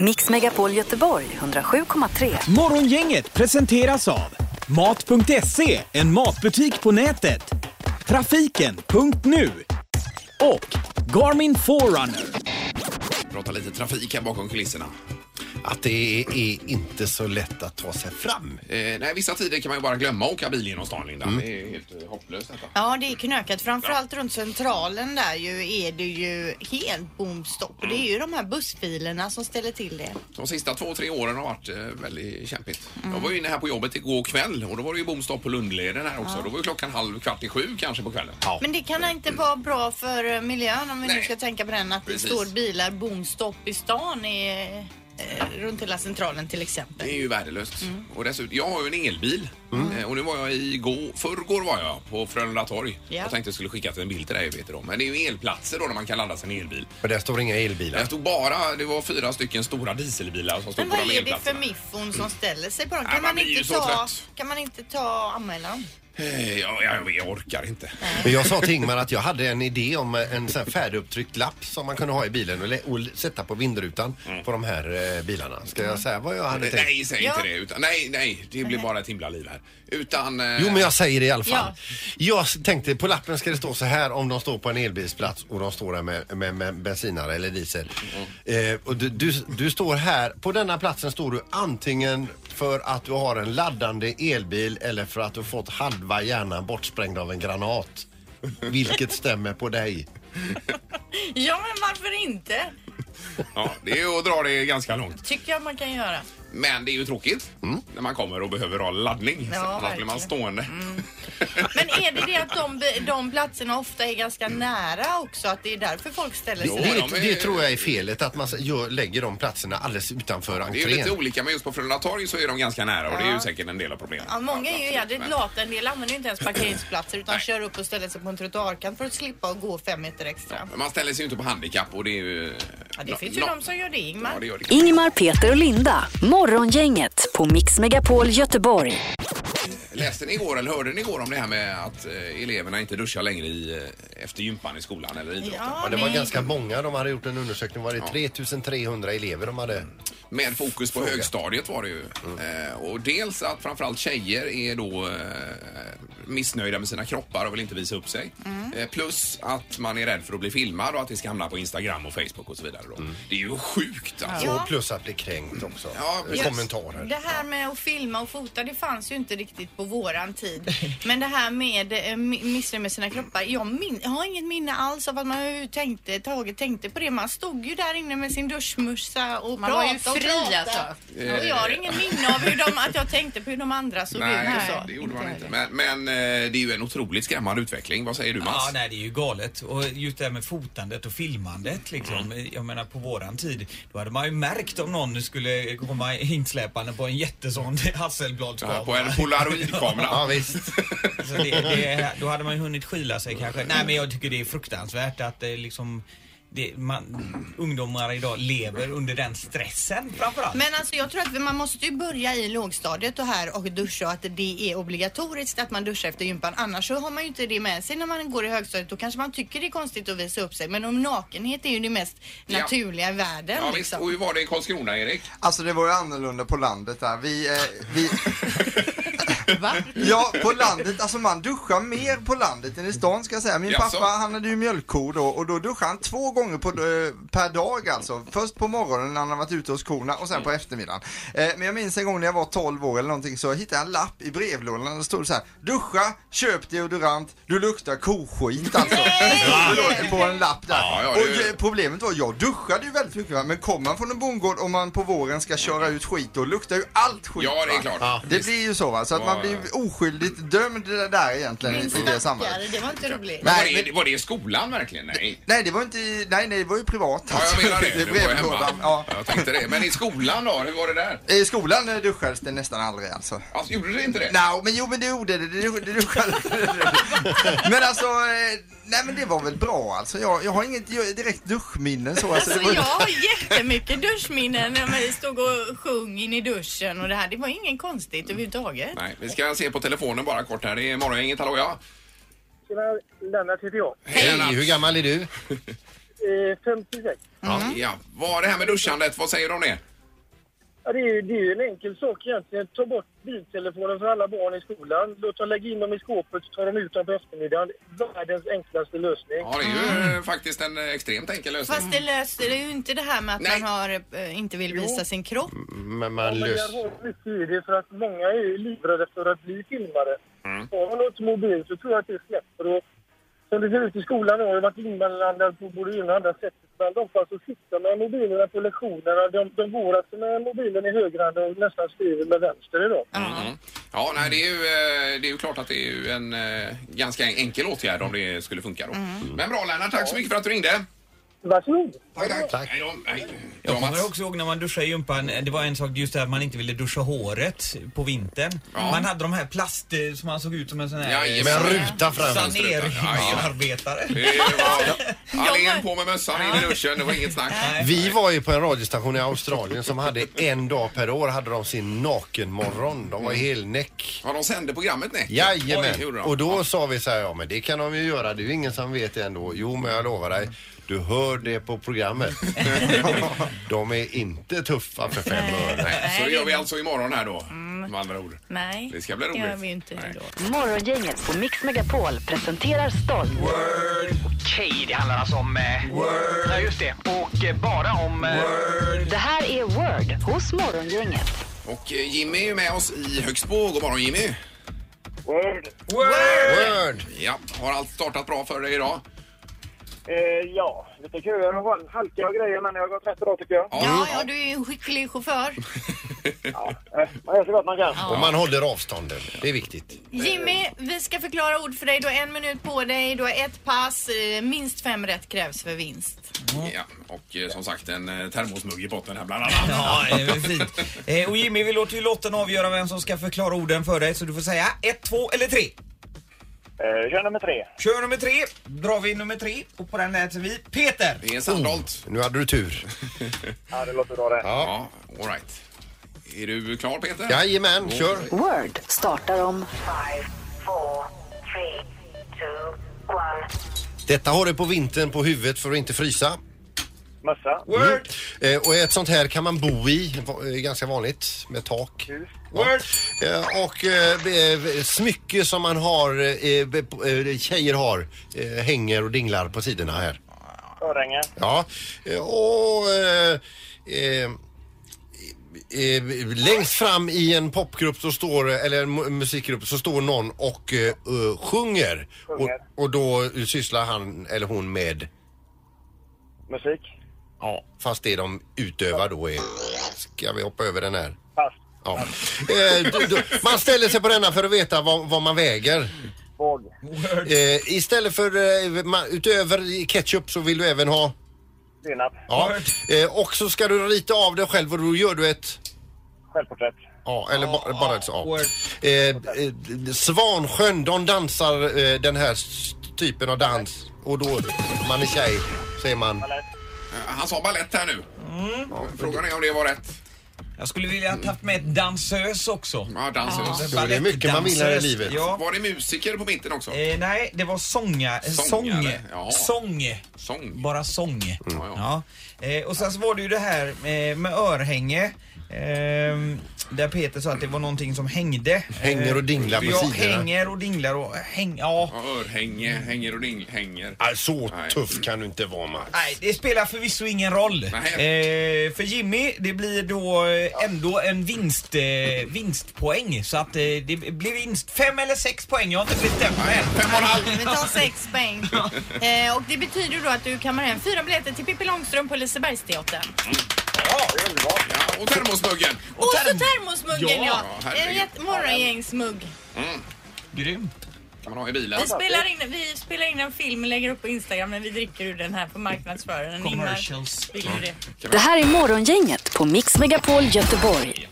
Mix Megapol Göteborg 107,3. Morgongänget presenteras av Mat.se, en matbutik på nätet. Trafiken.nu och Garmin Forerunner. Prata lite trafik här bakom kulisserna. Att det är, är inte så lätt att ta sig fram. Eh, nej, vissa tider kan man ju bara glömma att åka bil genom stan, Linda. Det är helt eh, hopplöst detta. Ja, det är knökat. Framförallt runt centralen där ju är det ju helt bomstopp. Och Det är ju Mm. de här bussfilerna som ställer till det. De sista två, tre åren har varit eh, väldigt kämpigt. Jag var ju inne här på jobbet igår kväll och då var det ju bomstopp på Lundleden här också. Då var ju klockan halv, kvart i sju kanske på kvällen. Ja. Men det kan inte vara bra för eh, miljön om vi nu Nej. ska tänka på den att Precis. det står bilar bomstopp i stan i, eh, runt hela centralen till exempel. Det är ju värdelöst. Mm. Och dessutom, jag har ju en elbil. Eh, Och nu var jag i går, förrgår var jag på Frölunda torg. Ja. Jag tänkte jag skulle skicka till en bild till dig, vet du då. Men det är ju elplatser då där man kan ladda sin elbil. För där står inga elbilar. Jag stod bara, det var fyra stycken stora dieselbilar som stod Men på vad de är det för elplatserna. Mm. miffon som ställer sig på dem? Nej, Kan, man man, blir ju inte så ta, trött. kan man inte ta anmälan? Eh, Jag, jag, jag orkar inte. Men jag sa till Ingmar att jag hade en idé om en sån här färdigupptryckt lapp som man kunde ha i bilen och, lä- och sätta på vindrutan på de här eh, bilarna. Ska jag säga vad jag hade tänkt? Mm. Eh, Nej, säg Ja. inte det. Utan, nej, nej, det blir bara ett himla liv här. Utan... eh, Jo, men jag säger det i alla fall. Jag tänkte på lappen ska det stå så här om de står på en elbilsplats och de står där med, med, med bensinare eller diesel. Mm. Eh, och du, du, du står här, på denna platsen står du antingen för att du har en laddande elbil eller för att du fått halva hjärnan bortsprängd av en granat. Vilket stämmer på dig? Ja, men varför inte? Ja, det är ju att dra det ganska långt. Tycker jag man kan göra. Men det är ju tråkigt Mm. när man kommer och behöver ha laddning. Ja, Så annars blir man verkligen. Mm. stående. Men är det det att de, de platserna ofta är ganska nära också? Att det är därför folk ställer Jo, sig där? Det, de är- det tror jag är felet, att man gör, lägger de platserna alldeles utanför Det är ju entrén. lite olika, men just på Frölunda torg så är de ganska nära och det är ju säkert en del av problemet. Ja, många är ju Absolut, jädrigt men- lata. En del använder ju inte ens parkeringsplatser utan Nej. kör upp och ställer sig på en trottoarkant för att slippa och gå fem meter extra. Men Man ställer sig ju inte på handikapp och det är ju... Ja, det finns ju de som gör det, Ja, Ingmar. det gör det. Ingmar, Peter och Linda. Morgongänget på Mix Megapol Göteborg. Läste ni igår eller hörde ni igår om det här med att eh, eleverna inte duschar längre i, eh, efter gympan i skolan eller idrotten? Ja, Ja, det var nej. ganska många, de hade gjort en undersökning, var det 3300 elever de hade? Med fokus på högstadiet var det ju. Mm. Eh, och dels att framförallt tjejer är då eh, missnöjda med sina kroppar och vill inte visa upp sig. Mm. Eh, plus att man är rädd för att bli filmad och att det ska hamna på Instagram och Facebook och så vidare. Då. Mm. Det är ju sjukt alltså. Ja. Och plus att bli kränkt också. Ja, precis. Kommentarer. Det här med att filma och fota, det fanns ju inte riktigt på våran tid. Men det här med eh, mi- missnöje med sina kroppar. Jag, min- jag har inget minne alls av att man överhuvudtaget tänkte, tänkte på det. Man stod ju där inne med sin duschmössa och Man var pratade ju fri, och pratade. alltså. Eh, Och jag har ingen minne av hur de, att jag tänkte på hur de andra såg Nej, ut och så. det gjorde man inte. Men, men eh, det är ju en otroligt skrämmande utveckling. Vad säger du Mats? Ja, nej, det är ju galet. Och just det här med fotandet och filmandet liksom. Mm. Jag menar på våran tid, då hade man ju märkt om någon skulle komma insläpande på en jättesån hasselbladskamera. Ja, på en polaroidkamera. Ja, visst. Så Alltså, det, det, då hade man ju hunnit skyla sig kanske. Nej men jag tycker det är fruktansvärt att det liksom det, man, ungdomar idag lever under den stressen framförallt. Men alltså jag tror att man måste ju börja i lågstadiet och här och duscha och att det är obligatoriskt att man duschar efter gympan. Annars så har man ju inte det med sig när man går i högstadiet. Då kanske man tycker det är konstigt att visa upp sig. Men om nakenhet är ju det mest Ja. naturliga i världen. Ja, visst. Och liksom. hur var det i Karlskrona, Erik? Alltså det var ju annorlunda på landet där. Vi, eh, vi... Ja, på landet, alltså man duschar mer på landet än i stan ska jag säga. Min Jaså? pappa han hade ju mjölkkor då och då duschade han två gånger på, eh, per dag alltså. Först på morgonen när han hade varit ute hos korna och sen Mm. på eftermiddagen. Eh, men jag minns en gång när jag var 12 år eller någonting så hittade jag en lapp i brevlådan där det stod så här. Duscha, köp deodorant, du luktar koskit alltså. Det stod det på en lapp där. Ja, ja, och det- eh, problemet var, jag duschade ju väldigt mycket va? men kommer man från en bondgård och man på våren ska köra ut skit då luktar ju allt skit Ja, det är va? klart. Det blir ju så va, så att man blir ju oskyldigt dömd det där egentligen i Min i det stackare, sammanhanget. det var inte roligt. Men Nej, var, det, men- var det i skolan verkligen? Nej. Nej det var inte, i- nej nej det var ju privat. Ja, jag menar det. Det Du är var ju brevlådan. hemma. Ja. Jag tänkte det. Men i skolan då? Hur var det där? I skolan eh, duschades det nästan aldrig alltså. Alltså, gjorde du inte det? Nej, men jo men det gjorde det, det, det duschades. men alltså, eh, nej men det var väl bra alltså. Jag, jag har inget direkt duschminne så. Alltså, det Alltså var, jag har jättemycket duschminnen när man stod och sjöng in i duschen och det här. Det var ingen konstigt överhuvudtaget. Mm. Nej, vi ska se på telefonen bara kort här. Det är morgongänget, hallå ja. Tjena, Lennart heter jag. Hej, hur gammal är du? Eh, 56. Ja, vad det här med duschandet, vad säger du om det? Ja, det, är ju, det är ju en enkel sak egentligen. Ta bort biltelefonen för alla barn i skolan. Låt dem lägga in dem i skåpet så tar de ut dem på eftermiddagen. Världens enklaste lösning. Ja, det är ju eh, faktiskt en eh, extremt enkel lösning. Fast det löser ju inte det här med att Nej. man har, eh, inte vill visa sin kropp. Men man Men löser... jag har mycket i det för att många är ju livrädda för att bli filmade. Mm. Har man något mobil så tror jag att det släpper. Och som det ser ut i skolan nu har det varit inblandad på både det ena och andra sättet. Men ofta så sitter man med mobilerna på lektionerna. De, de går alltså med mobilen i högerhanden och nästan skriver med vänster idag. Mm. Ja, nej, det är, ju, eh, det är ju klart att det är ju en eh, ganska enkel åtgärd om det skulle funka då. Men bra Lennart, tack så mycket för att du ringde. Varsågod! Tack, tack. Hej då. Hej. Jag Ja, kommer Mats. också ihåg när man duschade gympan, det var en sak just det här att man inte ville duscha håret på vintern. Man hade de här plast eh, som man såg ut som en sån här eh, Jajamän. Med en ruta fram. saneringsarbetare. Det var Allén på med mössan in i duschen, det var inget snack. Vi var ju på en radiostation i Australien som hade en dag per år hade de sin nakenmorgon. De var helnäck. Ja, de sände programmet nej. Oj, det Jajamän. gjorde de. Och då Ja. sa vi så här, ja men det kan de ju göra. Det är ju ingen som vet det ändå. Jo men jag lovar dig, du hör det på programmet. de är inte tuffa för fem öre. Nej, Så det gör vi alltså imorgon här då, med andra ord. Nej, Det ska bli roligt. gör vi ju inte Nej. då. Morgongänget på Mix Megapol presenterar stolt. Okej, det handlar alltså om... Eh, Word. Ja, just det. Och eh, bara om... Eh, Det här är Word hos Morgongänget. Och eh, Jimmy är ju med oss i Högsbo. God morgon Jimmy. Word. Word! Ja, har allt startat bra för dig idag? Eh, ja, lite köer och halka och grejer men jag har gått rätt bra tycker jag. Ja, ja, du är ju en skicklig chaufför. Eh, man gör så gott man kan. Och man håller avstånden. Det är viktigt. Jimmy, vi ska förklara ord för dig. Du har en minut på dig, du har ett pass. eh, Minst fem rätt krävs för vinst. Ja, och eh, som sagt en eh, termosmugg i botten här bland annat. Ja, det är väl fint. Eh, Och Jimmy, vi låter ju lotten avgöra vem som ska förklara orden för dig. Så du får säga ett, två eller tre. Eh, kör nummer tre. Kör nummer tre, drar vi nummer tre och på den läser vi Peter. Det är Sandholt. Nu hade du tur. Ja, det låter bra det. Ja, all right. Är du klar Peter? Jajamän, kör. Word startar om Detta har du på vintern på huvudet för att inte frysa. Mössa. Word, Eh, och ett sånt här kan man bo i, va- eh, ganska vanligt, med tak. word, Eh, och eh, eh, smycke som man har, eh, be- på- eh, tjejer har, eh, hänger och dinglar på sidorna här. Örhänge. Ja, eh, och eh, eh, eh, längst fram i en popgrupp så står, eller en mu- musikgrupp så står någon och eh, eh, sjunger. Och, Sjunger. och då sysslar han eller hon med Musik. Ja, fast det de utövar då är... Ska vi hoppa över den här? Pass. Ja. Eh, du, du, man ställer sig på denna för att veta vad, vad man väger. Våg. Eh, istället för eh, ma- utöver ketchup så vill du även ha... Senap. Ja. Eh, och så ska du rita av det själv och då gör du ett... Självporträtt. Ja, eller ba, bara ett så. Ja. Eh, eh, Svansjön, de dansar eh, den här s- typen av dans. Och då, om man är tjej, säger man... Eh, Han sa ballett här nu. Frågan är om det var rätt. Jag skulle vilja ha haft med ett dansös också. Ja, dansös. Jo, det är mycket man vill här i Balettdansös. livet. Ja. Var det musiker på mitten också? Eh, nej, det var sånga, eh, sång. Sångare, ja. Sång. Sång. Bara sång. Mm. ja. Ja. Eh, och sen så var det ju det här eh, med örhänge. Ehm, där Peter sa att det var någonting som hängde. Hänger och dinglar på ja, sidorna. hänger och dinglar och häng... Ja. Ja, örhänge, hänger och ding, hänger. Ah, så Nej. tuff kan du inte vara Max. Nej, det spelar förvisso ingen roll. Nej. Eh, för Jimmy, det blir då eh, ändå en vinst, eh, vinstpoäng. Så att eh, det blir vinst. Fem eller sex poäng, jag har inte bestämt mig än. Fem och en halv. Vi tar sex poäng. Eh, och det betyder då att du kammar hem fyra biljetter till Pippi Långstrump på Lisebergsteatern. Ja, och termosmuggen. Och så termosmuggen ja! Ja, herregud. En jätte- morgongängsmugg. Mm. Grym. kan man ha i bilen. Vi spelar, in, vi spelar in en film och lägger upp på Instagram när vi dricker ur den här för marknadsföraren. Commercials. Ingmar, vill du det? Det här är Morgongänget på Mix Megapol Göteborg.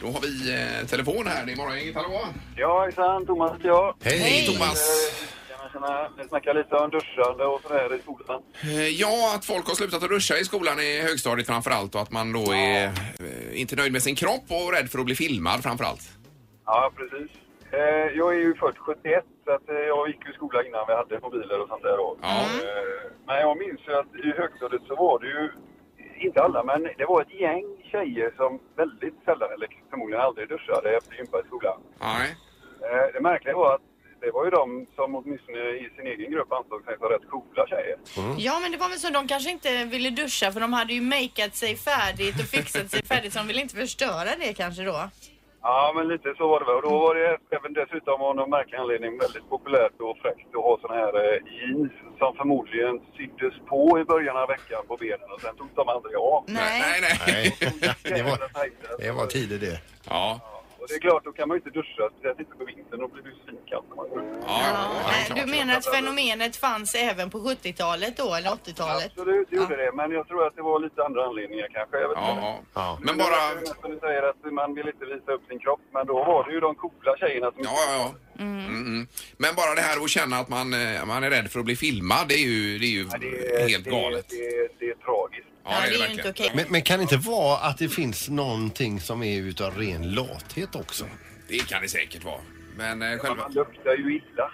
Då har vi eh, telefon här. Det är Morgongänget. Hallå? Ja, hejsan. Thomas heter jag. Hej! Hej Thomas. Tjena, tjena. Ni snackar lite om duschande och sådär i skolan. Eh, Ja, att folk har slutat att duscha i skolan i högstadiet framför allt och att man då är eh, inte nöjd med sin kropp och rädd för att bli filmad framför allt. Ja, precis. Eh, jag är ju född 71, så att, eh, jag gick ju i skolan innan vi hade mobiler och sånt där. Då. Ja. Eh, men jag minns ju att i högstadiet så var det ju inte alla, men det var ett gäng tjejer som väldigt sällan, eller förmodligen aldrig duschade efter gympa i skolan. Nej. Eh, Det märkliga var att det var ju de som åtminstone i sin egen grupp ansåg sig vara rätt coola tjejer. Ja, men det var väl så. De kanske inte ville duscha för de hade ju makeat sig färdigt och fixat sig färdigt så de ville inte förstöra det kanske då. Ja, men lite så var det väl. Och då var det även dessutom av någon märklig anledning väldigt populärt och fräckt att ha såna här eh, jeans som förmodligen syddes på i början av veckan på benen och sen togs de aldrig av. Nej, nej. Nej, det var, det var tider det. Ja. Och det är klart, då kan man ju inte duscha, speciellt inte på vintern. Då blir det ju svinkall när man går ut. Nej, Du menar att fenomenet fanns även på 70-talet då, eller 80-talet? Absolut, det gjorde det. Men jag tror att det var lite andra anledningar kanske. Jag vet Ja. Ja. Men bara... inte. Som du säger att man vill inte visa upp sin kropp, men då var det ju de coola tjejerna som... Ja, ja, ja. Mm, mm. Men bara det här att känna att man, eh, man är rädd för att bli filmad, det är ju, det är ju Nej, det är- helt det är- galet. Det, är- det är tragiskt. Ja, det är ju verkligen. inte okej. Men, men kan det inte vara att det finns någonting som är utav ren lathet också? Det kan det säkert vara. Men eh, själva... Man luktar ju illa.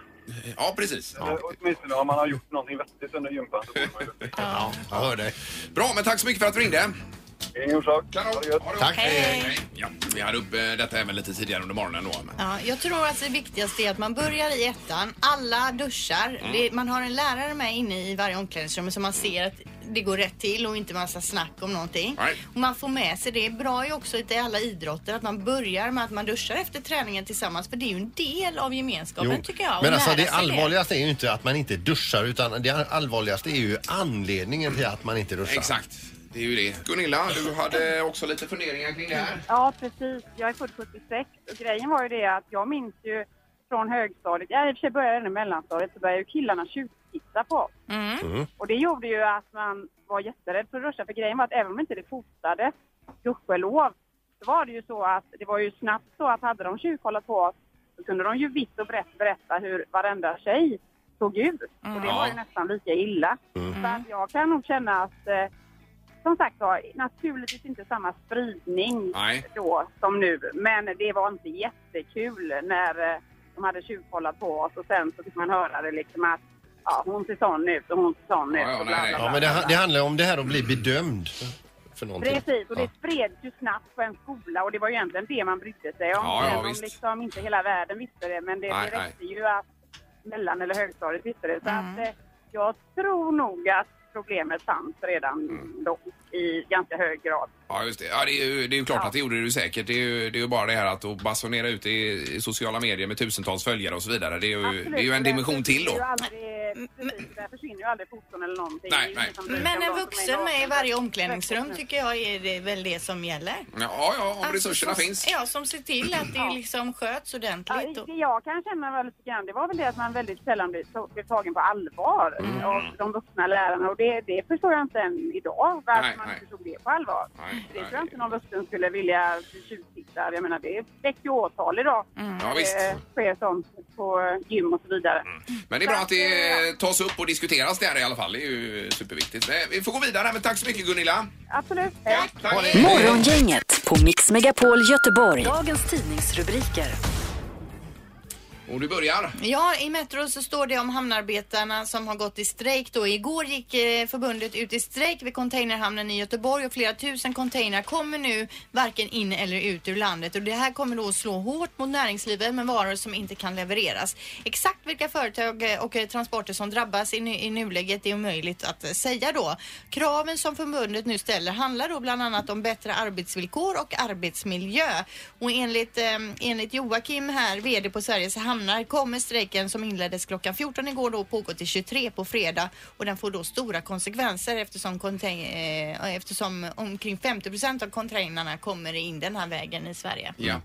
Ja, precis. Eller Åtminstone om man har gjort någonting vettigt under gympan så borde man ju lukta. Ja, jag hör dig. Bra, men tack så mycket för att du ringde. Det är ingen orsak. Ha det gött. Tack. Hej! Ja, vi hade upp eh, detta även lite tidigare under morgonen då. Men... Ja, jag tror att det viktigaste är att man börjar i ettan, alla duschar, Mm. det, man har en lärare med inne i varje omklädningsrum så man ser att det går rätt till och inte massa snack om någonting. Nej. Och man får med sig det. Bra är också i alla idrotter att man börjar med att man duschar efter träningen tillsammans för det är ju en del av gemenskapen tycker jag. att men alltså lära det sig allvarligaste är ju inte att man inte duschar utan det allvarligaste är ju anledningen till att man inte duschar. Exakt. Det är ju det. Gunilla, du hade också lite funderingar kring det här. Ja, precis. Jag är född 76 och grejen var ju det att jag minns ju från högstadiet, jag i och för sig började redan i mellanstadiet, så började ju killarna tjuvtitta på oss. Mm. Mm. Och det gjorde ju att man var jätterädd för att duscha, för grejen var att även om inte det fotades, gudskelov, så var det ju så att det var ju snabbt så att hade de tjuvkollat på oss så kunde de ju vitt och brett berätta hur varenda tjej såg ut. Och det var ju Mm. Ja. Mm. nästan lika illa. Så att jag kan nog känna att eh, som sagt var, naturligtvis inte samma spridning Nej. då som nu. Men det var inte jättekul när eh, de hade tjuvkollat på oss och sen så fick man höra det liksom att ja, hon ser sån ut och hon ser sån Ja, ut. ja, och bla, nej, bla, bla, nej. Ja, men det, bla, han- bla. det handlar ju om det här att bli bedömd för någonting. Precis, och det Ja. spreds ju snabbt på en skola och det var ju egentligen det man brydde sig om. Ja, ja, Även om visst. liksom inte hela världen visste det, men det, Nej, det räckte ju att mellan eller högstadiet visste det. Så Mm. att, eh, jag tror nog att problemet fanns redan Mm. då i ganska hög grad. Ja, just det. Ja, det, är ju, det är ju klart att det gjorde du säkert. Det är ju, det är ju bara det här att att basunera ut i, i sociala medier med tusentals följare och så vidare. Det är ju, Absolut, det är ju men en dimension till Det är ju då. Mm. aldrig, precis, där försvinner ju aldrig foton eller någonting. Nej, Det är ju nej. ingen som bryr sig om Men en de som är vuxen nakna. med i varje omklädningsrum Verkligen. tycker jag är det väl det som gäller. Ja, ja, om Alltså, resurserna som, finns. Ja, som ser till att det liksom sköts Ja, ordentligt. Och, det jag kan känna var lite grann, det var väl det att man väldigt sällan blev ta- blev tagen på allvar Mm. av de vuxna lärarna och det, det förstår jag inte än idag varför Nej, man nej. inte tog det på allvar. Nej, det tror nej. jag inte någon vuxen skulle vilja tjuvtitta. Jag menar det väcker ju åtal idag. Mm. Ja, visst. Mm. Det sker sånt på gym och så vidare. Men det är bra att det tas upp och diskuteras där i alla fall. Det är ju superviktigt. Eh, Vi får gå vidare, men tack så mycket Gunilla. Eh, Absolut. Tack. Morgongänget på Mix Megapol Göteborg. Dagens tidningsrubriker. Och du Mm. börjar. Ja, i Metro så står det om hamnarbetarna som har gått i strejk då. Igår gick eh, förbundet ut i strejk vid containerhamnen i Göteborg och flera tusen containrar kommer nu varken in eller ut ur landet och det här kommer då att slå hårt mot näringslivet med varor som inte kan levereras. Exakt vilka företag eh, och eh, transporter som drabbas i, nu, i nuläget är omöjligt att eh, säga då. Kraven som förbundet nu ställer handlar då bland annat om bättre arbetsvillkor och arbetsmiljö. Och enligt, eh, enligt Joakim här, VD på Sveriges Hamnar, kommer strejken som inleddes klockan 14 igår då pågå till 23 på fredag och den får då stora konsekvenser eftersom, contain- eh, eftersom omkring 50 procent av containrarna kommer in den här vägen i Sverige. Ja.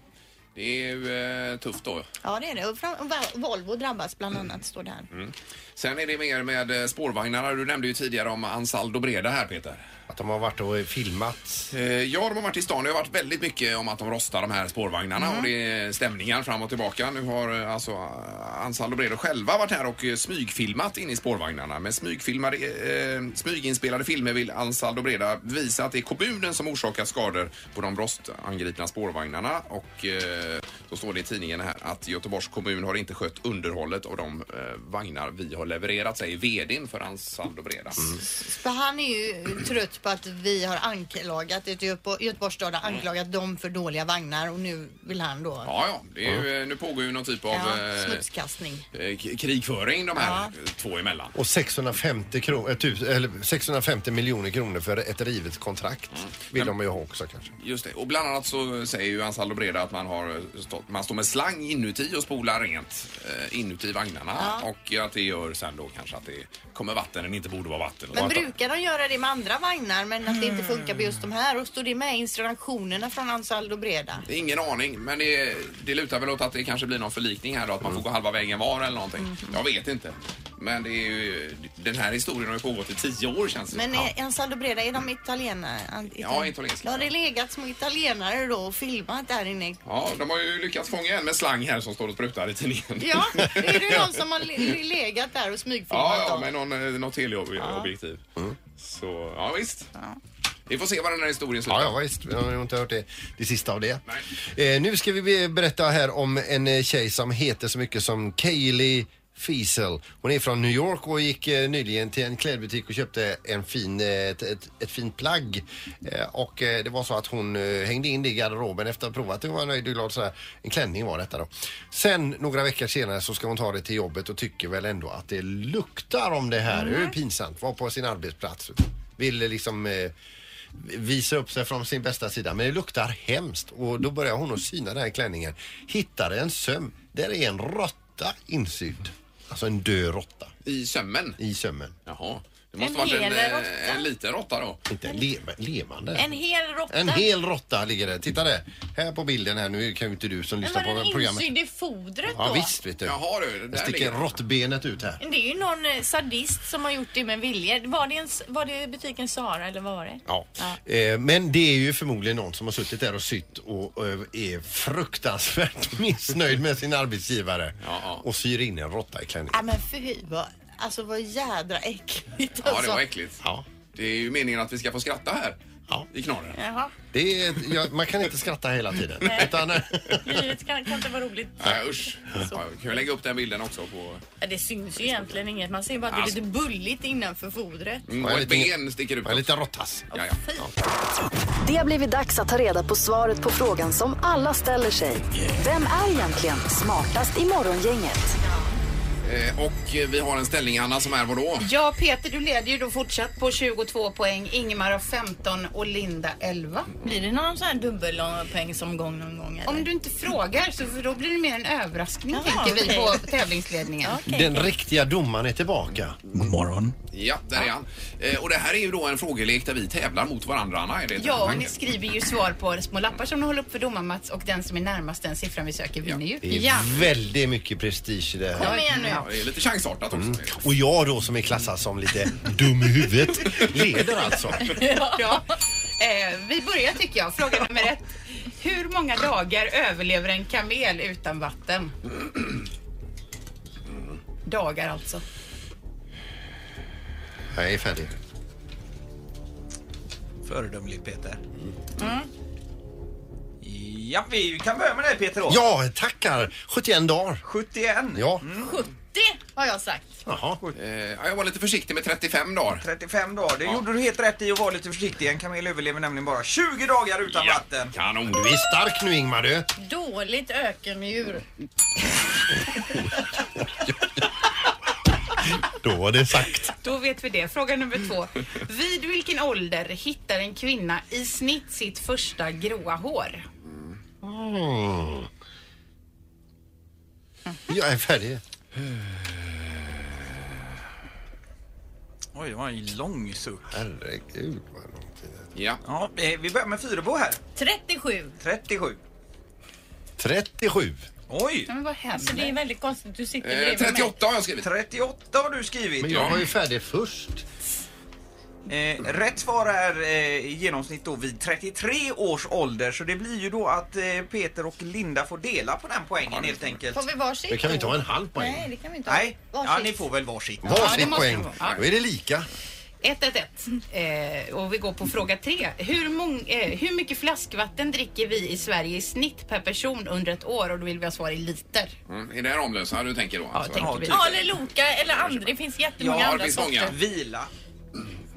Det är ju eh, tufft då. Ja, det är det. Och fram- och Val- Volvo drabbas bland annat, står det här. Sen är det mer med eh, spårvagnarna. Du nämnde ju tidigare om Ansal Dobreda här Peter. Att de har varit och filmat. Eh, Ja, de har varit i stan. Det har varit väldigt mycket om att de rostar de här spårvagnarna Mm. och det är stämningar fram och tillbaka. Nu har eh, alltså eh, Ansal Dobreda själva varit här och eh, smygfilmat in i spårvagnarna. Med smygfilmade, eh, smyginspelade filmer vill Ansal Dobreda visa att det är kommunen som orsakar skador på de rostangripna spårvagnarna och eh, eh, så står det i tidningen här att Göteborgs kommun har inte skött underhållet av de eh, vagnar vi har levererat, säger VDn för Ansand och Breda. För han är ju trött på att vi har anklagat, ett Göteborg- Göteborgs stad har anklagat dem för dåliga vagnar och nu vill han då Mm. Ja, ja, det är ju, eh, nu pågår ju någon typ av Ja, eh, smutskastning. eh, k- krigföring de här två emellan. Och 650, kron, eh, tus- eller 650 miljoner kronor för ett rivet kontrakt vill de ju ha också kanske. Just det. Och bland annat så säger ju Ansald och Breda att man, har stått, man står med slang inuti och spolar rent eh, inuti vagnarna och att det gör sen då kanske att det kommer vatten den inte borde vara vatten. Och Men att- brukar de göra det med andra vagnar men att det Mm. inte funkar på just de här? Och står det med i instruktionerna från Ansald och Breda? Ingen aning, men det, det lutar väl åt att det kanske blir någon förlikning här då, att man får gå halva vägen var eller någonting. Mm. Jag vet inte. Men det är ju, den här historien har ju pågått i tio år känns det Men eh, som. är Ansald och Breda, är de italienare? An- Ja, itali- italienska. Ja, har det legat små italienare då och filmat där inne? Ja, de har ju lyckats fånga en med slang här som står och sprutar i tidningen. Ja, är det någon som har le- legat där och smygfilmat Ja, ja dem? med någon, eh, något teleobjektiv. Mm. Så, ja visst. Vi får se vad den här historien slutar. Ja, ja visst. Jag har ju inte hört det, det sista av det. Eh, nu ska vi be- berätta här om en eh, tjej som heter så mycket som Kaylee Fiesel. Hon är från New York och gick eh, nyligen till en klädbutik och köpte en fin, eh, ett, ett, ett fint plagg. Eh, och eh, det var så att hon eh, hängde in det i garderoben efter att ha provat det. Hon var nöjd och glad. Sådär. En klänning var detta då. Sen några veckor senare så ska hon ta det till jobbet och tycker väl ändå att det luktar om det här. Det är ju pinsamt. Var på sin arbetsplats. Ville liksom eh, visa upp sig från sin bästa sida. Men det luktar hemskt och då börjar hon att syna den här klänningen. Hittar en söm. Där är en råtta insydd. Alltså en död råtta. I sömmen? I sömmen. Jaha. Det måste En varit en, hel eh, råtta? en liten råtta då. Inte en leva, levande. En hel råtta? En hel råtta ligger där. Titta där. Här på bilden här. Nu kan ju inte du som Men lyssnar var på den programmet. insydd i fodret då? Ja visst vet du. Jaha, du, där Jag sticker ligger den. råttbenet ut här. Det är ju någon eh, sadist som har gjort det med vilje. Var det, en, s- var det butiken Sara eller vad var det? Ja. Eh, men det är ju förmodligen någon som har suttit där och sytt och, eh, är fruktansvärt missnöjd med sin arbetsgivare och syr in en råtta i klänningen. Ja men fy vad, alltså vad jädra äckligt Ja, alltså. det var äckligt. Det är ju meningen att vi ska få skratta här i knorren. Jaha, Det är, ja, man kan inte skratta hela tiden. Utan, eh, livet kan, kan inte vara roligt. Nej, usch. Ja, jag kan vi lägga upp den bilden också på... Mm, Ja, Det syns ju egentligen inget. Man ser bara att det är Alltså. lite bulligt innanför fodret. Mm, och ett ben sticker ut. En liten råttas. Ja, ja. Det har blivit dags att ta reda på svaret på frågan som alla ställer sig. Vem är egentligen smartast i Morgongänget? Eh, och eh, vi har en ställning, Anna, som är vadå? Ja, Peter, du leder ju då fortsatt på 22 poäng. Ingemar har 15 och Linda 11. Blir det någon sån här dubbelpoängsomgång någon gång? Eller? Om du inte frågar så för då blir det mer en överraskning Jaha, tänker vi okej. på tävlingsledningen. Den riktiga domaren är tillbaka. God morgon. Ja, där är han. Eh, och det här är ju då en frågelek där vi tävlar mot varandra, Anna. Är det Ja, och tanken? ni skriver ju svar på små lappar som ni håller upp för domar-Mats och den som är närmast den siffran vi söker vinner ju. Det är väldigt mycket prestige i det här. Mm. Kom igen nu. Ja, det är lite chansartat också. Och jag då som är klassad som lite dum i huvudet leder alltså. ja. eh, vi börjar tycker jag. Fråga nummer ett. Hur många dagar överlever en kamel utan vatten? Dagar alltså. Jag är färdig. Föredömligt Peter. Ja, vi kan börja med dig Peter då. Ja, tackar. 71 dagar. 71? Ja. Mm. 70 har jag sagt. Jaha. Eh, jag var lite försiktig med 35 dagar. 35 dagar. Det gjorde du helt rätt i att vara lite försiktig. En kamel överlever nämligen bara 20 dagar utan vatten. Kanon. Du är stark nu Ingmar du. Dåligt ökendjur. Då var det sagt. Då vet vi det. Fråga nummer två. Vid vilken ålder hittar en kvinna i snitt sitt första gråa hår? Mm. Jag är färdig. Oj, det var en lång suck. Herregud vad lång tid Ja. ja, eh, vi börjar med Fyrebo här. 37. 37. 37. Oj! Men vad händer? Så Alltså, det är väldigt konstigt. Du sitter Eh, bredvid 38 mig. Mm. har jag skrivit. 38 har du skrivit. Men jag var ju färdig först. Eh, rätt svar är eh, i genomsnitt då vid 33 års ålder så det blir ju då att eh, Peter och Linda får dela på den poängen helt enkelt. Får vi varsitt? Det kan vi inte ha en halv poäng. Nej, det kan vi inte ha. Nej, ja, Varsitt. ni får väl varsitt. Varsitt poäng. Då är det lika. 111. Eh, och vi går på fråga tre. Hur, mång, eh, hur mycket flaskvatten dricker vi i Sverige i snitt per person under ett år? Och då vill vi ha svar i liter. Mm, är det här omlösa du tänker då? Alltså? tänker vi. Ja, eller Loka eller andra. Det finns jättemånga Ja, det andra finns sorter. många. Vila.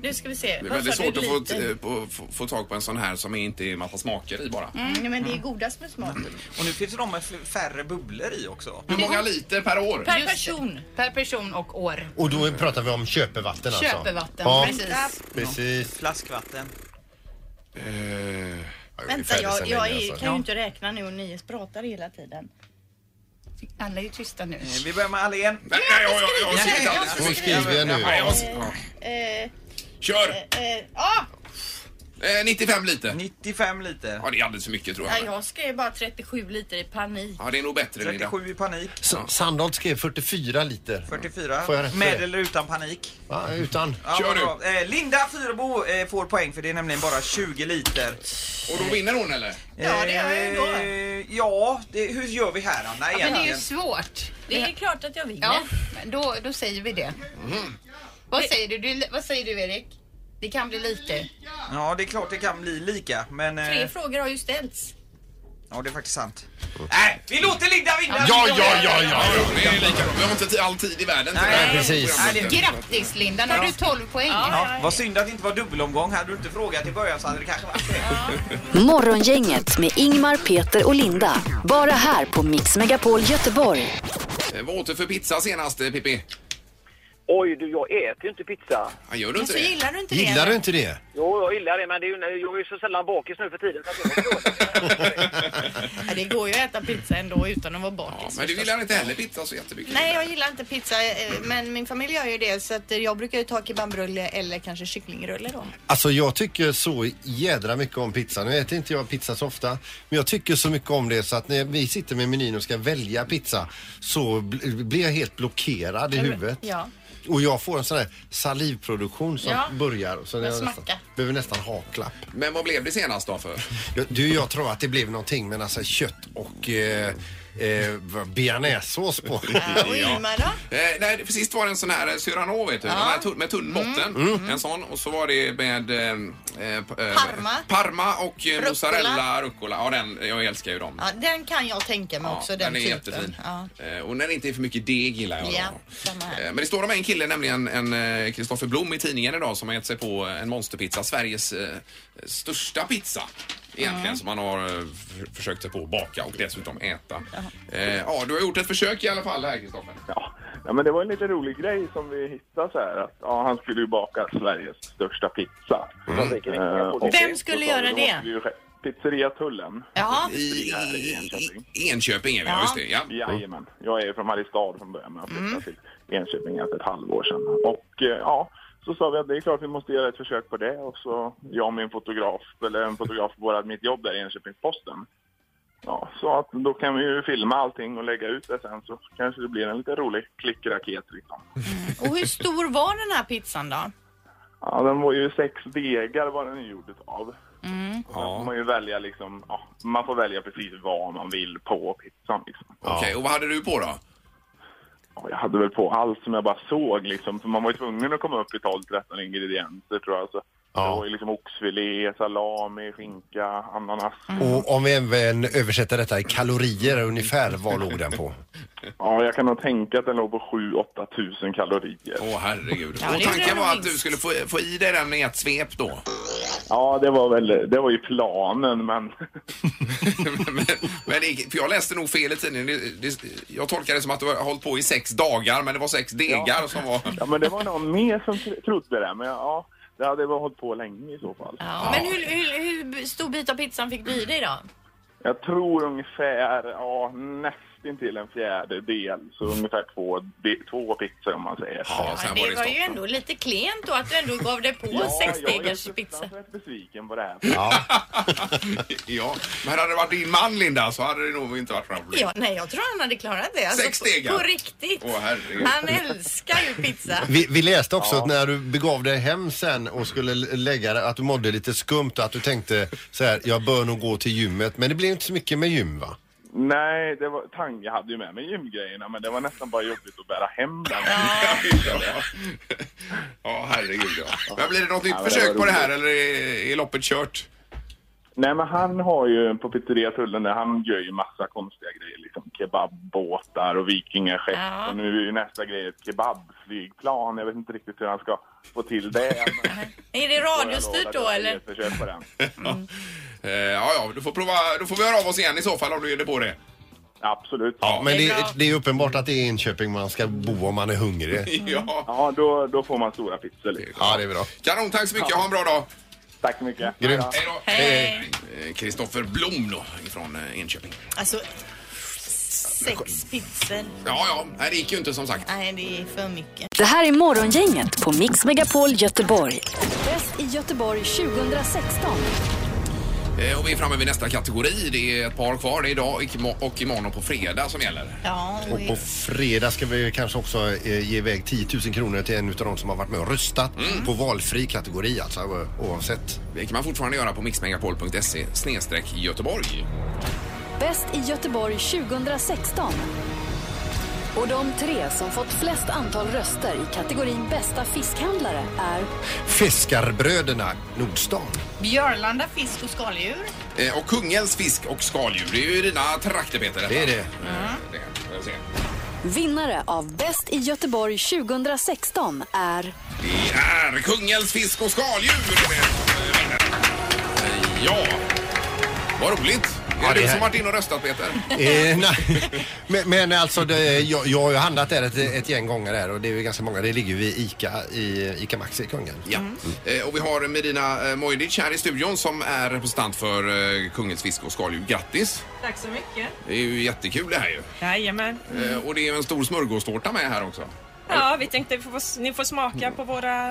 Nu ska vi se. Det är Vad väldigt sa du, svårt att få, liten? eh, på, få, få tag på en sån här som inte är massa smaker i bara. Mm, nej, men det är godast med smak. Och nu finns det de med f- färre bubblor i också. Hur många liter per år? Per person. Per person och år. Och då pratar vi om köpevatten alltså? Köpevatten, precis. precis. Flaskvatten. Eh, Vänta, jag, jag alltså. alltså. är, kan ju inte räkna nu och ni pratar hela tiden. Alla är ju tysta nu. Eh, Vi börjar med Allén. Nej, nej, jag, jag, jag har skrivit allt. Hon skriver nu. Nej, jag har- ja. Eh, Kör! eh, ah! Eh, 95 liter. 95 liter. Ja, det är alldeles för mycket tror Nej, jag. jag skrev bara 37 liter i panik. Ja, det är nog bättre Linda. 37 i panik. S- Sandholt skrev 44 liter. 44. Får jag rätt för Med det? eller utan panik? Ja, utan. Ja, vad bra. Eh, Linda Fyrebo eh, får poäng för det är nämligen bara 20 liter. Och då vinner hon eller? Ja, det gör jag ju då. Eh, Ja, det, hur gör vi här Anna Ja, men det är ju egentligen? svårt. Det är klart att jag vinner. Ja, då, då säger vi det. Mhm. Vad säger du? du? Vad säger du Erik? Det kan bli lite. Ja, det är klart det kan bli lika, men... eh, Tre frågor har ju ställts. Ja, det är faktiskt sant. Äh, Nej, vi låter Linda vinna! Ja, ja, ja, ja. Det är lika bra. Vi har inte ti- all tid i världen till Nej, det här precis. programmet. Grattis Linda, nu har du 12 poäng. Ja, vad synd att det inte var dubbelomgång. Hade du inte frågat i början så hade det kanske varit det. Morgongänget med Ingmar, Peter och Linda. Bara här på Mix Megapol Göteborg. Eh, Vad åt du för pizza senast eh, Pippi? Oj, du, jag äter ju inte pizza. Ja, Gör du inte Alltså, det? gillar du inte det? Gillar du eller? inte det? Jo, jag gillar det, men det är ju, jag är ju så sällan bakis nu för tiden. Så att jag- Ja, det går ju att äta pizza ändå utan att vara Ja, bakis. men du förstås. gillar inte heller pizza så jättemycket? Nej, jag gillar inte pizza, eh, men min familj gör ju det så att eh, jag brukar ju ta kebabrulle eller kanske kycklingrulle då. Alltså jag tycker så jädra mycket om pizza. Nu äter inte jag pizza så ofta. Men jag tycker så mycket om det så att när vi sitter med menyn och ska välja pizza så bl- blir jag helt blockerad i huvudet. Ja. Och jag får en sån där salivproduktion som Ja. börjar. Så Den jag nästan, smackar. behöver nästan ha klapp. Men vad blev det senast då för? Jag- Du, jag tror att det blev någonting med alltså kött och eh, eh, vad- bearnaisesås på. Ja, Och Ingmar då? Eh, nej, för sist var det en sån här eh, Cyrano vet du, den här tunn- med Mm. tunn botten. En sån. Och så var det med eh, eh, p- eh, Parma. Parma och eh, Rucola. mozzarella, rucola. Ja, den, jag älskar ju dem. Ja, den kan jag tänka mig Ja, också, den, den är typen. jättefin. Ja. Eh, Och när det inte är för mycket deg gillar jag. Ja, dem. samma här. Eh, Men det står om en kille, nämligen en Kristoffer Blom i tidningen idag som har gett sig på en monsterpizza, Sveriges eh, största pizza. Egentligen Mm. som han har eh, f- försökt sig på att baka och dessutom äta. Eh, ja, du har gjort ett försök i alla fall här Kristoffer. Ja. ja, men det var en lite rolig grej som vi hittade så här. Att, ja, han skulle ju baka Sveriges största pizza. Mm. Eh, och Vem då skulle sa vi, göra då det? måste vi ju skä- Pizzeria Tullen. Ja, I, i, i Enköping är vi, ja. Ja. just det. Ja. Jajamän. Jag är ju från Mariestad från början men jag flyttade till Enköping för ett halvår sedan. Och eh, ja, så sa vi att det är klart vi måste göra ett försök på det. Och så jag och min fotograf, eller en fotograf på vårat, mitt jobb där i Enköpingsposten. Ja, så att då kan vi ju filma allting och lägga ut det sen så kanske det blir en lite rolig klickraket liksom. Eh. och hur stor var den här pizzan då? Ja, den var ju sex degar var den ju gjord av. Mm. Sen får man ju välja liksom, ja, man får välja precis vad man vill på pizzan liksom. Okej, och vad hade du på då? Ja, Jag hade väl på allt som jag bara såg liksom. För man var ju tvungen att komma upp i 12-13 ingredienser tror jag. Så Ja. Det var ju liksom oxfilé, salami, skinka, ananas. Och om vi även översätter detta i kalorier ungefär, vad låg den på? Ja, jag kan nog tänka att den låg på 7-8 tusen kalorier. Åh herregud. Ja, det och gjorde tanken de var att minst. du skulle få, få i dig den i ett svep då. Ja, det var väl, det var ju planen men men, men det, för jag läste nog fel i tidningen. Det, det, jag tolkade det som att du har hållit på i sex dagar men det var sex degar som var... Ja, men det var någon mer som tro- trodde det. Men ja, det hade väl hållit på länge i så fall. Ja. Men hur, hur, hur stor bit av pizzan fick du i dig då? Jag tror ungefär, ja, nästintill en fjärdedel. Så ungefär två, de, två pizzor om man säger. Ja, Ja, sen det var stopp. ju ändå lite klent då att du ändå gav dig på sexdegars pizza. fruktansvärt besviken på det här. Ja. Ja, men hade det varit din man Linda så hade det nog inte varit några problem. Ja, nej, jag tror han hade klarat det. Sex på- degar? På riktigt. Åh, herregud. han älskar ju pizza. Vi, vi läste också att när du begav dig hem sen och skulle l- lägga dig, att du mådde lite skumt och att du tänkte så här, jag bör nog gå till gymmet. Men det blev inte så mycket med gym va? Nej, det var, tank, jag hade ju med mig gymgrejerna men det var nästan bara jobbigt att bära hem den. Ja, herregud ja. Men blir det något nytt försök på det här eller är, är loppet kört? Nej men han har ju på Pizzeria Tullen där, han gör ju massa konstiga grejer. Liksom kebabbåtar och vikingaskepp. Och nu är ju nästa grej ett kebabflygplan. Jag vet inte riktigt hur han ska få till det. men- Är det radiostyrt då eller? Försök på den. Eh, ja, ja, du får prova. Då får vi höra av oss igen i så fall om du ger dig på det. Absolut. Ja, Men det, det är uppenbart att det är Enköping man ska bo om man är hungrig. Ja, ja då, då får man stora pizzor. Liksom. Ja, det är bra. Kanon, tack så mycket. Ha en bra dag. Tack så mycket. Grymt. Hej då. Hej. Eh, Kristoffer Blom då, ifrån eh, Enköping. Alltså, sex pizzor. Ja, ja, nej, det gick ju inte som sagt. Nej, det är för mycket. Det här är Morgongänget på Mix Megapol Göteborg. Bäst i Göteborg 2016. Eh, Och vi är framme vid nästa kategori. Det är ett par kvar. Det är idag och imo- och imorgon på fredag som gäller. Ja, Och på fredag ska vi kanske också eh, ge iväg 10 000 kronor till en av de som har varit med och röstat Mm. på valfri kategori alltså o- oavsett. Det kan man fortfarande göra på mixmegapol.se snedstreck Göteborg. Bäst i Göteborg 2016. Och de tre som fått flest antal röster i kategorin bästa fiskhandlare är Fiskarbröderna Nordstan. Björlanda fisk och skaldjur. Eh, Och Kungälvs fisk och skaldjur. Det är ju dina trakter Peter. Det är det. det får jag se. vinnare av Bäst i Göteborg 2016 är Det är Kungälvs fisk och skaldjur. det är det som vinner. Eh, Ja, vad roligt. Är Ja, det, det du här- som varit inne och röstat Peter? Eh, nej. Men, men alltså det, jag, jag har ju handlat där ett, ett gäng gånger där och det är ju ganska många. Det ligger ju vid ICA, i, ICA Maxi i Kungälv. Ja. Eh, Och vi har Medina eh, Mojdic här i studion som är representant för eh, Kungälvs fisk och skaldjur. Grattis! Tack så mycket. Det är ju jättekul det här ju. Jajamän. Eh, Och det är ju en stor smörgåstårta med här också. Ja, vi tänkte vi får, ni får smaka på våra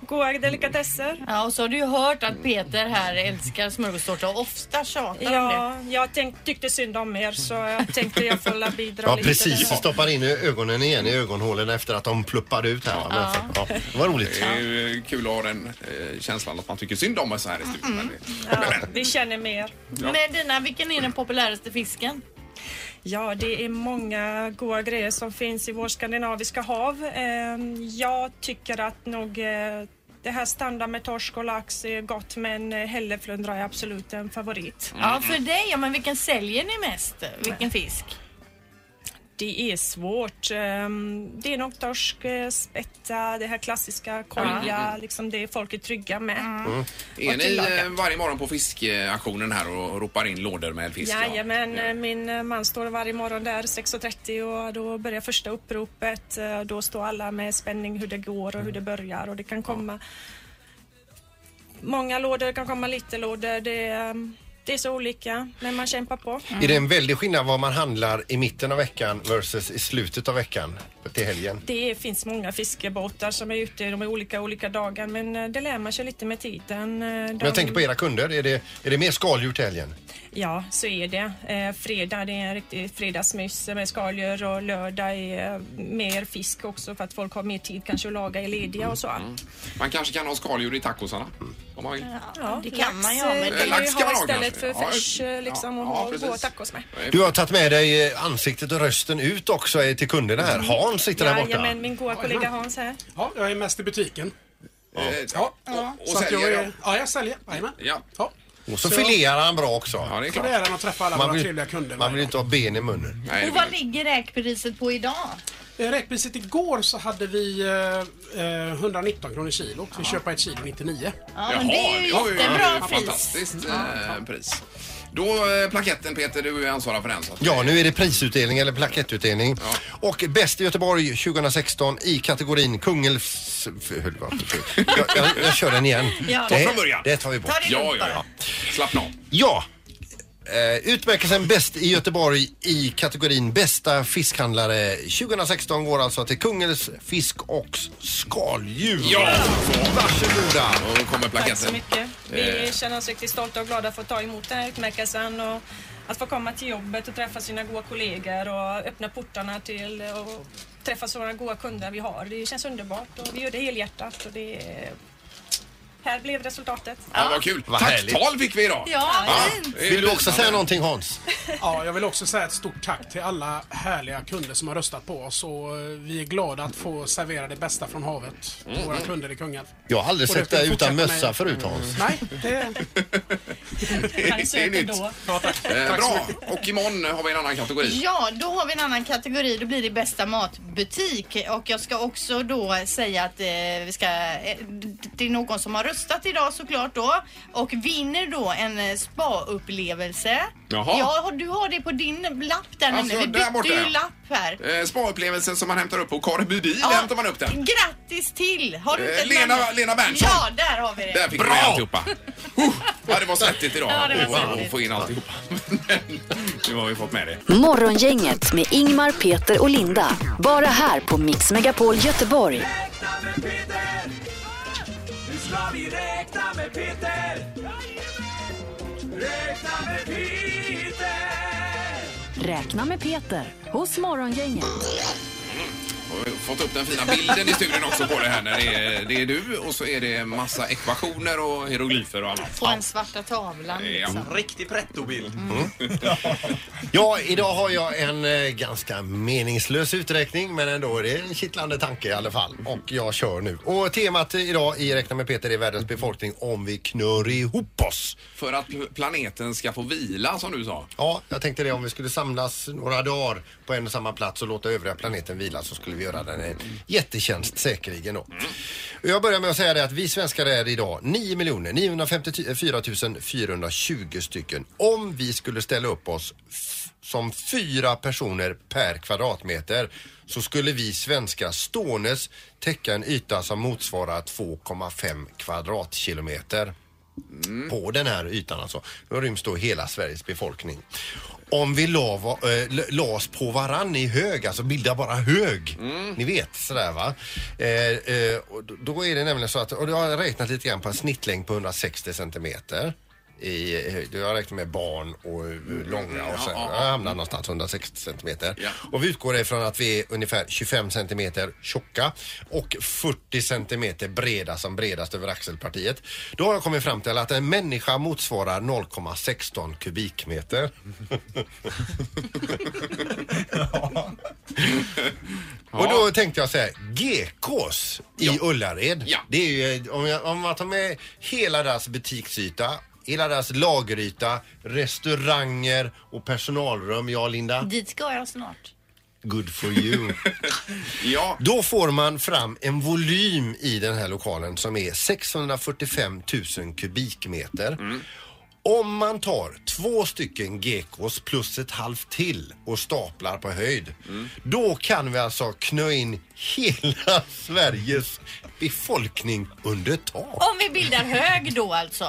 goda delikatesser. Ja, och så har du ju hört att Peter här älskar smörgåstårta och ofta tjatar om det. Ja, jag tänk, tyckte synd om er så jag tänkte jag får la bidra Ja lite. precis, där. stoppar in i ögonen igen i ögonhålen efter att de pluppade ut här. va? Men, Ja. ja. det var roligt. Det är ju eh, kul att ha den eh, känslan att man tycker synd om oss här i studion. Mm. Men det- Ja, vi känner med er. Ja. Men Dina, vilken är den populäraste fisken? Ja, det är många goda grejer som finns i vår skandinaviska hav. Eh, Jag tycker att nog eh, det här standard med torsk och lax är gott men eh, hälleflundra är absolut en favorit. Ja, för dig. Ja, men vilken säljer ni mest? Vilken fisk? Det är svårt. Ehm, Det är nog torsk, eh, spätta, det här klassiska kolja, Mm. liksom det folk är trygga med. Mm. Är Och ni tillaga. eh, varje morgon på fiskaktionen här och ropar in lådor med fisk? ja? Jajamän, eh, min eh, man står varje morgon där 6.30 och då börjar första uppropet. Eh, Då står alla med spänning hur det går Mm. och hur det börjar och det kan komma många lådor, det kan komma lite lådor. Det, är, eh, det är så olika, men man kämpar på. Är det en väldig skillnad vad man handlar i mitten av veckan versus i slutet av veckan till helgen? Det finns många fiskebåtar som är ute, de är olika olika dagar men eh, det lär man sig lite med tiden. Eh, Men de- jag tänker på era kunder, är det, är det mer skaldjur till helgen? Ja, så är det. Eh, fredag det är en riktig fredagsmys med skaldjur och lördag är eh, mer fisk också för att folk har mer tid kanske att laga i lediga och så. Man kanske kan ha skaldjur i tacosarna? Om man vill. Ja, det kan man ju ha, men eh, det- kan man ju Lax kan ha man ha istället kanske. för Ja, färs eh, liksom och ja, ha precis. goda tacos med. Du har tagit med dig eh, ansiktet och rösten ut också eh, till kunderna här. Hans sitter där borta. Jajamän, min goda kollega Hans här. Ja, jag är mest i butiken. Eh, Ja. Ja, ja. och så att jag säljer, är, ja, jag säljer. Jajamän. Ja. Och så filerar han bra också. Ja, det är klart. Så det är han att träffa alla våra trevliga kunder Man vill inte ha ben i munnen. Och vad ligger räkpriset på idag? Eh, Räkpriset igår så hade vi eh, eh, 119 kronor kilo. Vi köper ett kilo 99. Ja, men det är ju var jättebra pris. Fantastiskt Ja. eh, pris. Då eh, plaketten Peter, du är ansvarig för den. Så att, Ja, nu är det prisutdelning eller plakettutdelning. Och bäst i Göteborg 2016 i kategorin Kungälvs... för- höll på att- Jag, jag, jag kör den igen. Ja. Ta det, från början. Det tar vi bort. Ta det lugnt Ja, ja, ja. bara. Slappna av. Ja. Eh, Utmärkelsen Bäst i Göteborg i kategorin Bästa fiskhandlare 2016 går alltså till Kungälvs fisk och skaldjur. Ja! Varsågoda! Och då kommer plaketten. Tack så mycket. Vi Eh. känner oss riktigt stolta och glada att få ta emot den här utmärkelsen och att få komma till jobbet och träffa sina goda kollegor och öppna portarna till och träffa sådana goda kunder vi har. Det känns underbart och vi gör det helhjärtat och det är... Här blev resultatet. Ja, vad kul. Vad härligt. Tacktal fick vi idag. Ja, Ja, fint. det är Vill du också lysande. säga någonting Hans? Ja, jag vill också säga ett stort tack till alla härliga kunder som har röstat på oss och eh, vi är glada att få servera det bästa från havet till Mm. våra kunder i Kungälv. Jag har aldrig Och det sett ska dig vi utan fortsätta mössa med. förut Hans. Nej, det... Han söker nytt. då. Eh, Tack så bra, och imorgon har vi en annan kategori. Ja, då har vi en annan kategori. Då blir det bästa matbutik. Och jag ska också då säga att eh, vi ska, eh, d- det är någon som har röstat idag såklart då och vinner då en eh, spa-upplevelse. Jaha. Ja, har- du har det på din lapp där Alltså, nämligen. Vi där borta, bytte ju ja. lapp här. Eh, Spa-upplevelsen som man hämtar upp på Kareby bil Ja. hämtar man upp den. Grattis till! Har du Eh, inte ett Lena- namn? Lena Berntsson. Ja, där har vi det. Där fick vi med alltihopa. Huh. Ja, det var svettigt idag Ja, det var att- att svettigt. få in alltihopa. Men nu har vi fått med det. Morgongänget med Ingmar, Peter och Linda. Bara här på Mix Megapol Göteborg. Nu ska vi räkna med Peter! Räkna med Peter! Räkna med Peter hos Morgongänget. Och vi har fått upp den fina bilden i studion också på det här. När det, är, det är du och så är det massa ekvationer och hieroglyfer och annat. På den svarta tavlan liksom. Riktig pretto-bild. Mm. Ja, idag har jag en eh, ganska meningslös uträkning men ändå är det en kittlande tanke i alla fall. Och jag kör nu. Och temat idag i Räkna med Peter är världens befolkning om vi knör ihop oss. För att pl- planeten ska få vila som du sa. Ja, jag tänkte det om vi skulle samlas några dagar på en och samma plats och låta övriga planeten vila så skulle vi göra den en jättetjänst säkerligen då. Och Jag börjar med att säga det att vi svenskar är idag 9 954 420 stycken. Om vi skulle ställa upp oss f- som fyra personer per kvadratmeter så skulle vi svenskar ståendes täcka en yta som motsvarar 2,5 kvadratkilometer på den här ytan alltså. Då ryms då hela Sveriges befolkning. Om vi la, va, eh, l- las på varann i hög, alltså bilda bara hög. Ni vet sådär va. Eh, eh, och d- då är det nämligen så att, och då har jag räknat lite grann på en snittlängd på 160 centimeter. I, eh, då har jag räknat med barn och eh, långa och sen jag hamnar någonstans 160 centimeter. Och vi utgår ifrån att vi är ungefär 25 centimeter tjocka och 40 centimeter breda som bredast över axelpartiet. Då har jag kommit fram till att en människa motsvarar 0,16 kubikmeter. Och då tänkte jag så här, GKs i Ullared. Det är ju, eh, om, jag, om man tar med hela deras butiksyta, hela deras lageryta, restauranger och personalrum, ja Linda. Dit ska jag snart. Good for you. ja. Då får man fram en volym i den här lokalen som är 645 000 kubikmeter. Om man tar två stycken gekos plus ett halvt till och staplar på höjd. Då kan vi alltså knö in hela Sveriges befolkning under tak. Om vi bildar hög då alltså.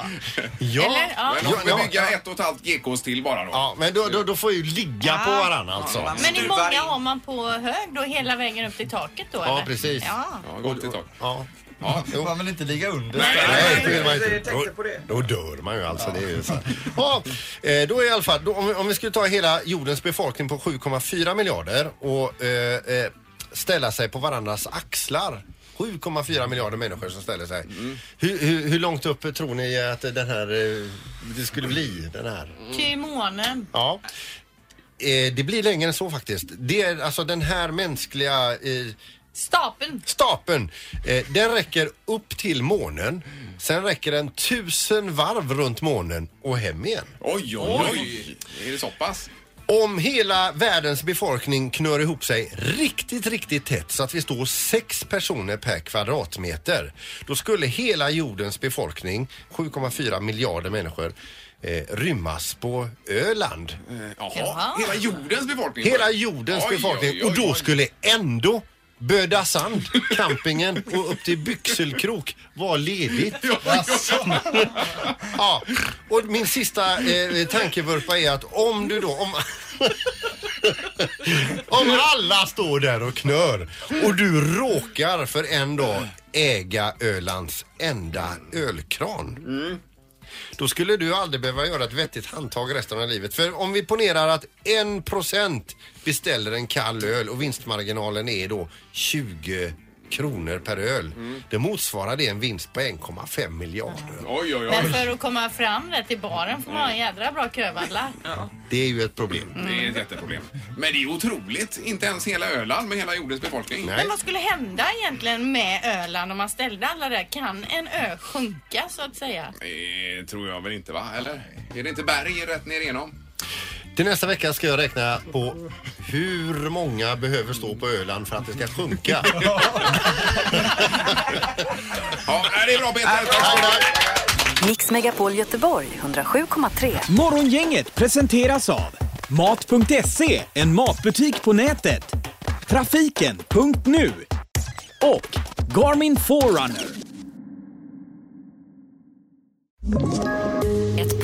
Ja, Eller? Ja. Men om Ja, vi bygger ett och ett halvt gekos till bara då. Ja, men då, då, då får jag ju ligga på Ja. varann alltså. Men hur många har man på hög då? Hela vägen upp till taket då? Ja, eller? precis. Ja. gott i tak. Ja. Ja, jo. Man vill inte ligga under. Nej, det vill man Jag inte. tänkte på det. Då, då dör man ju alltså. Det är ju så. här. Ja, eh, då är i alla fall, då, om, vi- om vi skulle ta hela jordens befolkning på 7,4 miljarder och eh, eh, ställa sig på varandras axlar. 7,4 miljarder människor som ställer sig. Mm. Hur, hur, hur långt upp tror ni att den här, eh, det skulle bli? Den här? Mm. Till månen. Ja. Eh, det blir längre än så faktiskt. Det är alltså den här mänskliga eh, Stapeln. Stapeln. Eh, den räcker upp till månen. Sen räcker den tusen varv runt månen och hem igen. Oj, oj, oj. Är det så pass? Om hela världens befolkning knör ihop sig riktigt, riktigt tätt så att vi står sex personer per kvadratmeter. Då skulle hela jordens befolkning, 7,4 miljarder människor, eh, rymmas på Öland. Jaha. Eh, Hela jordens befolkning? Hela jordens Oj, befolkning. oj, oj, och då oj. skulle ändå Böda sand, campingen och upp till Byxelkrok var ledigt. ja, och min sista eh, tankevurpa är att om du då, om, om alla står där och knör och du råkar för en dag äga Ölands enda ölkran. Då skulle du aldrig behöva göra ett vettigt handtag resten av livet. För om vi ponerar att 1% beställer en kall öl och vinstmarginalen är då 20 kronor per öl. Det motsvarar det en vinst på 1,5 miljarder. Oj, oj, Men för att komma fram där till baren får man ha en jädra bra kövandlar. Det är ju ett problem. Det är ett jätteproblem. Men det är otroligt. Inte ens hela Öland med hela jordens befolkning. Men vad skulle hända egentligen med Öland om man ställde alla där? Kan en ö sjunka så att säga? Eh, tror jag väl inte, va? Eller? Är det inte berg rätt ner igenom? Till nästa vecka ska jag räkna på hur många behöver stå på Öland för att det ska sjunka. Ja, det är bra Peter. Mix Megapol Göteborg 107,3. Morgongänget presenteras av Mat.se, en matbutik på nätet. Trafiken.nu och Garmin Forerunner. Ett